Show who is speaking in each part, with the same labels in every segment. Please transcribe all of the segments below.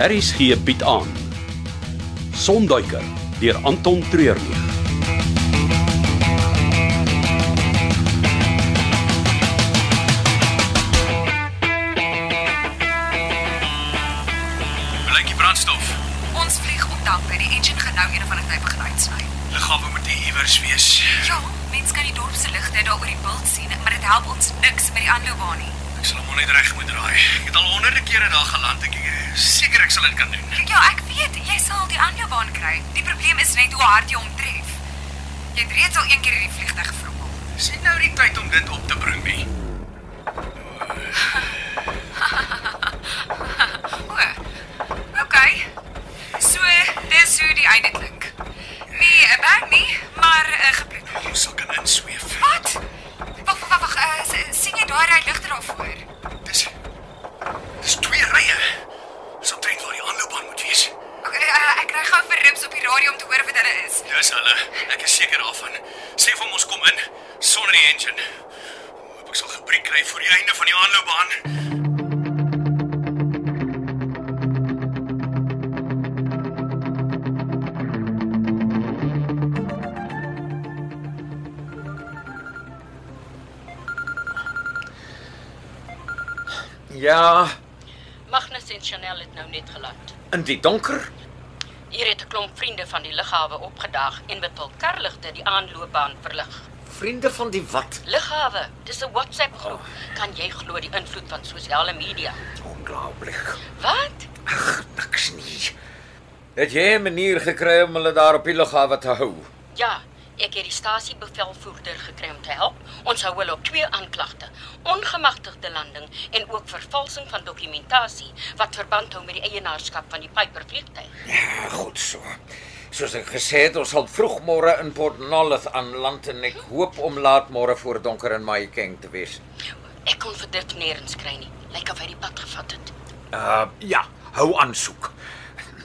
Speaker 1: RSG bied aan Sonduiker deur Anton Treurnig.
Speaker 2: Blykie brandstof.
Speaker 3: Ons vlieg op dank by die engine gaan nou een van die tyd begin uitsny.
Speaker 2: Liggawe moet hier iewers wees.
Speaker 3: Ja, mense kan die dorp se lig net daar oor die bult sien, maar dit help ons niks met die aanloopbaan nie.
Speaker 2: Ek sal hom net reg moet draai. Ek het al honderde kere daar geland. Ek eh, seker ek sal dit kan doen.
Speaker 3: Ja, ek weet, jy sal die aanloopbaan kry. Die probleem is net hoe hard jy hom tref. Jy het reeds al een keer hierdie vliegtuig verrommel.
Speaker 2: Sien nou die tyd om dit op te bring nie.
Speaker 3: O. Okay. So, dis hoe die einde klink. Nee, 'n bang nie, maar 'n gepletter.
Speaker 2: Ons sal kan insweef.
Speaker 3: Wat? Wag, wag, wag, wag. eh, s- sien jy daai ry ligter daar voor?
Speaker 2: Dis Dis twee rye. Dis omtrent waar die aanloopbaan moet wees.
Speaker 3: Okay, eh, ek kry gou vir rips op die radio om te hoor wat hulle is.
Speaker 2: Dis hulle. Ek Ja, is seker daarvan. Sê vir hom ons kom in sonder die engine. Hoop ek sal gebreek kry voor die einde van die aanloopbaan.
Speaker 4: Ja,
Speaker 5: Magnus en Chanel het nou net geland.
Speaker 4: in die donker.
Speaker 5: Hier het 'n klomp vriende van die lughawe opgedag en met hul karligte die aanloopbaan verlig.
Speaker 4: Vriende van die wat?
Speaker 5: Lughawe, dis 'n WhatsApp groep.
Speaker 4: Oh.
Speaker 5: Kan jy glo die invloed van sosiale media?
Speaker 4: Ongelooflik.
Speaker 5: Wat?
Speaker 4: Niks nie. Het jy 'n manier gekry om hulle daar op die lughawe te hou?
Speaker 5: Ja, ek het die stasiebevelvoerder gekry om te help. Ons hou hulle op twee aanklagte: ongemagtigde landing en ook vervalsing van dokumentasie wat verband hou met die eienaarskap van die Piper vliegtuig.
Speaker 4: Ja, goed so. Soos ek gesê het, ons sal vroeg môre in Port Nolloth aanland en ek hoop om laat môre voor donker in Mahikeng te wees.
Speaker 5: Ek kon vir dit nêrens kry nie. Lyk of hy die pad gevat het.
Speaker 4: Uh ja, hou aan soek.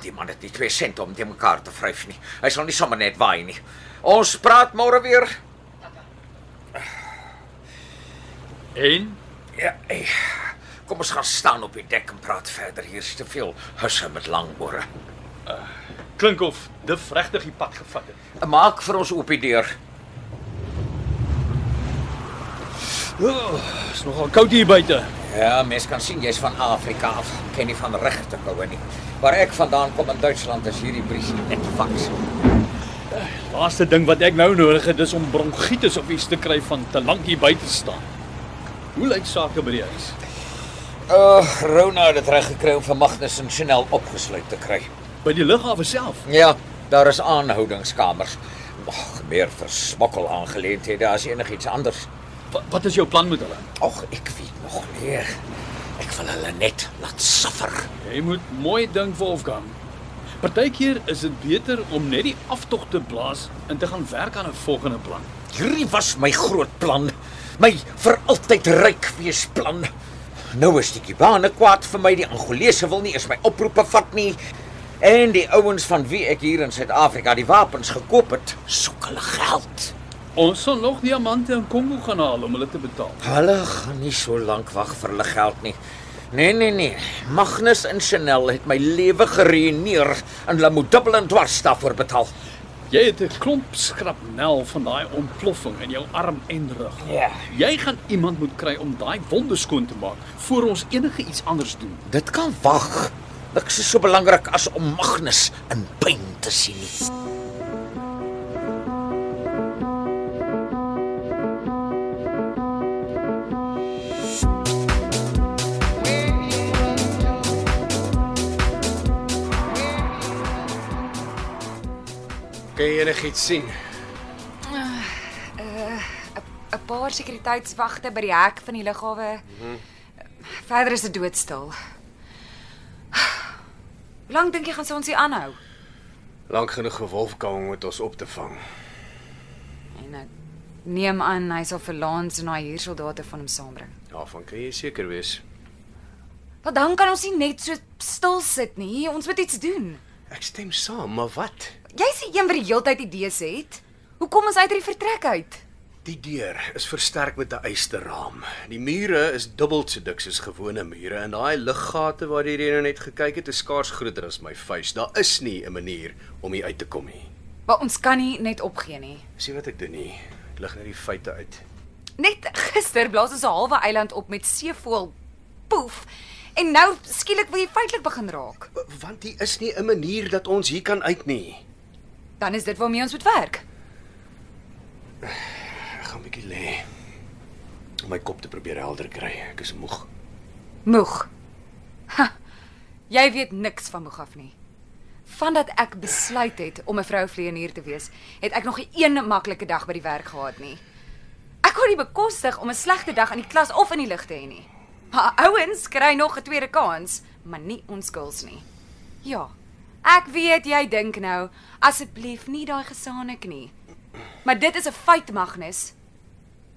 Speaker 4: Die man het nie 2 sent om te mekaar te vryf nie. Hy sal nie sommer net waai nie. Ons praat môre weer.
Speaker 6: En
Speaker 4: Ja, ey. kom ons gaan staan op die dek en praat verder. Hier's te veel husse met lang ore.
Speaker 6: klink of Dif regtig die pad gevat het.
Speaker 4: Maak vir ons oop die deur.
Speaker 6: Oh, is nogal koud hier buite.
Speaker 4: Ja, mens kan sien jy's van Afrika af. Ken nie van regte koue nie. Waar ek vandaan kom in Duitsland is hierdie briesie net vaks.
Speaker 6: Laaste ding wat ek nou nodig het is om bronkietes op iets te kry van te lank hier buite staan. Hoe lyk sake by die huis?
Speaker 4: O, oh, Rona het dit reg gekry om vir Magnus en Chanel opgesluit te kry.
Speaker 6: By die lughawe self.
Speaker 4: Ja, daar is aanhoudingskamers. Ag, meer vir smokkel aangeleenthede as enigiets anders.
Speaker 6: Wat, wat is jou plan met hulle?
Speaker 4: Ag, ek weet nog nie. Ek wil hulle net laat suffer.
Speaker 6: Jy moet mooi dink Wolfgang. Partykeer is dit beter om net die aftog te blaas en te gaan werk aan 'n volgende plan.
Speaker 4: Hierdie was my groot plan, my vir altyd ryk wees plan. Nou is die Kubane kwaad vir my, die Angolese wil nie eens my oproepe vat nie. En die ouens van wie ek hier in Suid-Afrika die wapens gekoop het, soek hulle geld.
Speaker 6: Ons sal nog diamante in Kongo gaan haal om hulle te betaal.
Speaker 4: Hulle gaan nie so lank wag vir hulle geld nie. Nee nee nee. Magnus en Chanel het my lewe geruïneer en hulle moet dubbel en dwars daarvoor betaal.
Speaker 6: Jy het 'n klomp skrapnel van daai ontploffing in jou arm en rug.
Speaker 4: Ja.
Speaker 6: Jy gaan iemand moet kry om daai wonde skoon te maak voor ons enige iets anders doen.
Speaker 4: Dit kan wag. Niks is so belangrik as om Magnus in pyn te sien nie.
Speaker 2: Kan jy enigiets sien?
Speaker 3: 'n paar sekuriteitswagte by die hek van die lughawe. Mm -hmm. Verder is dit doodstil. Hoe lank dink jy gaan sy ons hier aanhou?
Speaker 2: Lank genoeg vir Wolfgang om dit ons op te vang.
Speaker 3: En ek neem aan hy sal vir Lance en daai huursoldate van hom saambring.
Speaker 2: Daarvan kan jy seker wees.
Speaker 3: Wel dan kan ons nie net so stil sit nie. Ons moet iets doen.
Speaker 2: Ek stem saam, maar wat?
Speaker 3: Jy's die een wat die heeltyd idees het. Hoe kom ons uit hierdie vertrek uit?
Speaker 2: Die deur is versterk met 'n ysterraam. Die mure is dubbel so dik soos gewone mure en daai liggate waar jy nou net gekyk het, is skaars groter as my vuis. Daar is nie 'n manier om hier uit te kom nie.
Speaker 3: Maar ons kan nie net opgee nie.
Speaker 2: Sien wat ek doen nie. Ek lig net die feite uit.
Speaker 3: Net gister blaas ons 'n halwe eiland op met seevoël poef en nou skielik wil jy feitelik begin raak.
Speaker 2: W- Want hier is nie 'n manier dat ons hier kan uit nie.
Speaker 3: Dan is dit waarmee ons moet werk.
Speaker 2: Ek gaan 'n bietjie lê om my kop te probeer helder kry. Ek is moeg.
Speaker 3: Moeg. Ha, jy weet niks van moeg af nie. Vandat ek besluit het om 'n vrou vleienier te wees, het ek nog nie een maklike dag by die werk gehad nie. Ek kon nie bekostig om 'n slegte dag in die klas of in die lig te hê nie. Maar ouens kry nog 'n tweede kans, maar nie ons girls nie. Ja. Ek weet jy dink nou, asseblief nie daai gesane knie. Maar dit is 'n feit, Magnus.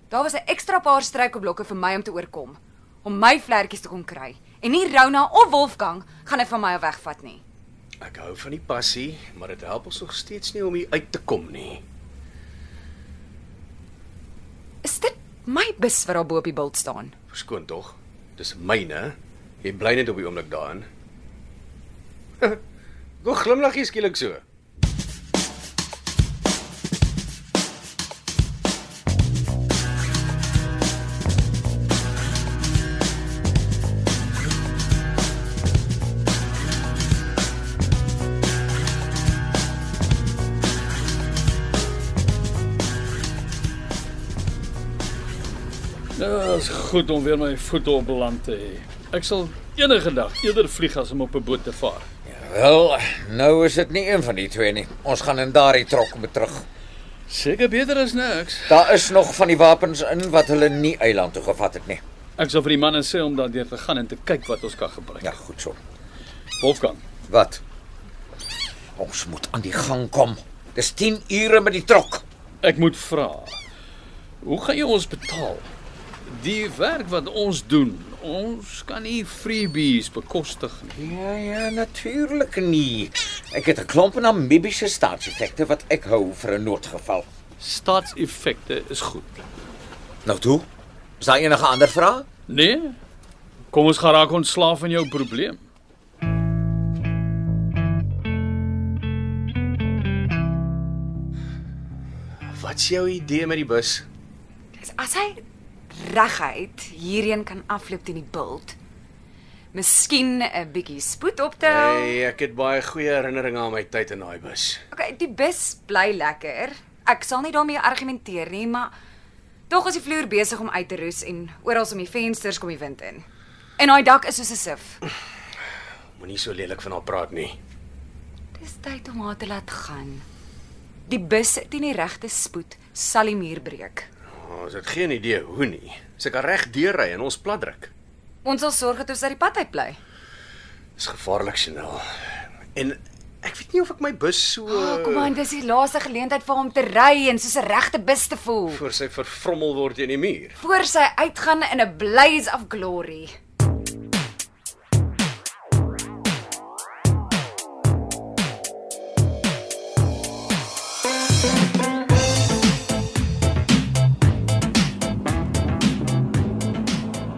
Speaker 3: Daar was 'n ekstra paar struikelblokke vir my om te oorkom, om my vlekkies te kon kry. En nie Rona of Wolfgang gaan dit van my af wegvat nie.
Speaker 2: Ek hou van die passie, maar dit help ons nog steeds nie om hier uit te kom nie.
Speaker 3: Is dit my bus wat daar bo op die bult staan?
Speaker 2: Verskoon tog. Dis myne. Jy bly net op die oomblik daarin. Hoe glimlag jy skielik so?
Speaker 6: Dit Nou, is goed om weer my voete op land te hê. Ek sal enige dag eerder vlieg as om op 'n boot te vaar.
Speaker 4: Wel, nou is dit nie een van die twee nie. Ons gaan in daardie trok moet terug.
Speaker 6: Seker beter as niks.
Speaker 4: Daar is nog van die wapens in wat hulle nie eiland toe gevat het nie.
Speaker 6: Ek sal vir die manne sê om daardeur te gaan en te kyk wat ons kan gebruik.
Speaker 4: Ja, goed so.
Speaker 6: Wolfgang,
Speaker 4: Wat? Ons moet aan die gang kom. Dis 10 ure met die trok.
Speaker 6: ek moet vra. Hoe gaan jy ons betaal? Die werk wat ons doen, ons kan nie freebies bekostig nie.
Speaker 4: Ja ja, natuurlik nie. Ek het 'n klomp Namibiese staatseffekte wat ek hou vir 'n noodgeval.
Speaker 6: Staatseffekte is goed.
Speaker 4: Nou toe. Is daar enige ander vrae?
Speaker 6: Nee. Kom ons gaan raak ontslaaf van jou probleem.
Speaker 2: Wat's jou idee met die bus?
Speaker 3: Ja. Dis as hy reguit hierheen kan afloop teen die bult. Miskien 'n bietjie spoed optel.
Speaker 2: Hey, ek het baie goeie herinneringe aan my tyd in daai bus.
Speaker 3: Okay, die bus bly lekker. Ek sal nie daarmee argumenteer nie, maar tog is die vloer besig om uit te roes en oral om die vensters kom die wind in. En daai dak is soos 'n sif.
Speaker 2: Moenie so lelik van haar praat nie.
Speaker 3: Dis tyd om haar te laat gaan. Die bus teen die regte spoed sal die muur breek.
Speaker 2: Oh, Ons het geen idee hoe nie. Sy kan reg deurry en ons platdruk.
Speaker 3: Ons sal sorg dat ons uit die pad uit bly.
Speaker 2: Dis gevaarlik, Chanel. En ek weet nie of ek my bus so
Speaker 3: Oh, kom aan, dis die laaste geleentheid vir hom te ry en soos 'n regte bus te voel.
Speaker 2: voor sy verfrommel word teen die muur.
Speaker 3: Voor sy uitgaan in 'n blaze of glory.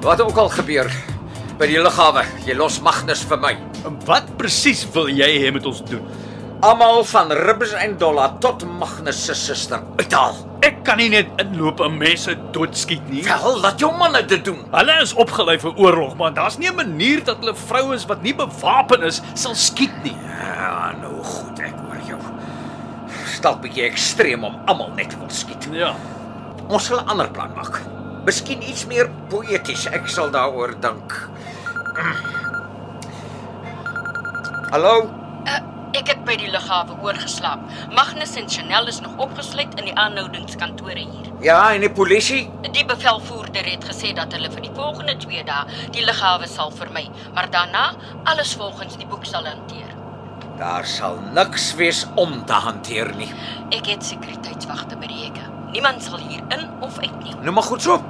Speaker 4: Wat ook al gebeur by die lughawe, jy los Magnus vir my.
Speaker 6: Wat presies wil jy hê moet ons doen?
Speaker 4: Almal van Ribbes en Dollar tot Magnus se suster uithaal.
Speaker 6: Ek kan nie net inloop en mense doodskiet nie.
Speaker 4: Wel, laat jou manne dit doen.
Speaker 6: Hulle is opgelei vir oorlog, maar daar's nie 'n manier dat hulle vrouens wat nie bewapen is, sal skiet nie.
Speaker 4: Ja, nou goed, ek hoor jou. Stap bietjie ekstreem om almal net te wil skiet.
Speaker 6: Ja.
Speaker 4: Ons sal 'n ander plan maak. Miskien iets meer poëties. Ek sal daaroor dink. Hallo,
Speaker 5: Uh, ek het by die lughawe oorgeslaap. Magnus en Chanel is nog opgesluit in die aanhoudingskantore hier.
Speaker 4: ja, en die polisie?
Speaker 5: Die bevelvoerder het gesê dat hulle vir die volgende 2 dae die lughawe sal vermy, maar daarna alles volgens die boek sal hanteer.
Speaker 4: Daar sal niks wees om te hanteer nie.
Speaker 5: Ek het sekuriteitswagte by die hekke. Niemand sal hier in of uit nie.
Speaker 4: Nou maar goed so.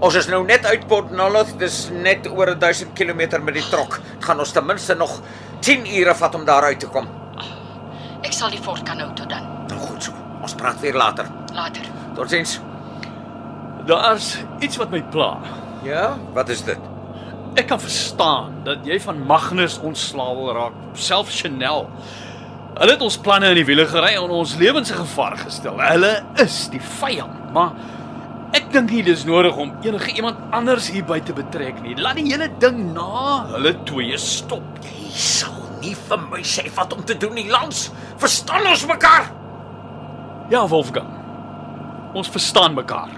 Speaker 4: Ons is nou net uit Port Nolloth, dis net oor 1000 km met die trok. Dit gaan ons ten minste nog 10 ure vat om daar uit te kom.
Speaker 5: Ek sal die fort kan hou tot dan.
Speaker 4: Nou goed so. Ons praat weer later.
Speaker 5: Later.
Speaker 4: Totsiens.
Speaker 6: Daar's iets wat my pla.
Speaker 4: Ja, wat is dit?
Speaker 6: Ek kan verstaan dat jy van Magnus ontslaaw wil raak, self Chanel. Hulle het ons planne in die wiele gery en ons lewens in gevaar gestel. Hulle is die vyand, maar ek dink nie dis nodig om enige iemand anders hierby te betrek nie. Laat die hele ding na hulle twee stop.
Speaker 4: Jy sal nie vir my sê wat om te doen nie, Lans. Verstaan ons mekaar?
Speaker 6: Ja, Wolfgang. Ons verstaan mekaar.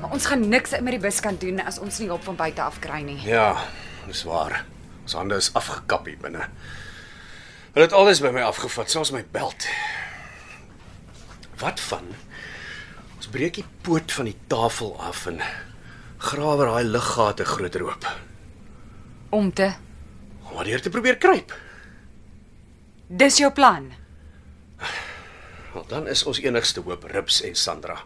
Speaker 3: Maar ons gaan niks met die bus kan doen as ons nie hulp van buite af kry nie.
Speaker 2: Ja, dis waar. Ons hande is afgekap hier binne. Hulle het alles by my afgevat, selfs my beld. Wat van? Ons breek die poot van die tafel af en grawe daai liggate groter oop.
Speaker 3: Om te
Speaker 2: Om maar deur te probeer kruip.
Speaker 3: Dis jou plan.
Speaker 2: Wel, dan is ons enigste hoop Rips en Sandra.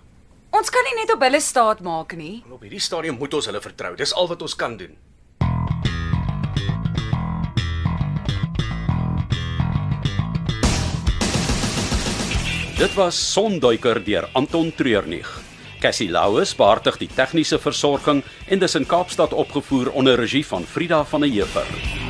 Speaker 3: Ons kan nie net op hulle staat maak nie.
Speaker 2: Maar op hierdie stadium moet ons hulle vertrou. Dis al wat ons kan doen.
Speaker 1: Dit was Sonduiker deur Anton Treurnig. Cassie Louws behartig die tegniese versorging en dis in Kaapstad opgevoer onder regie van Frida van der Heever.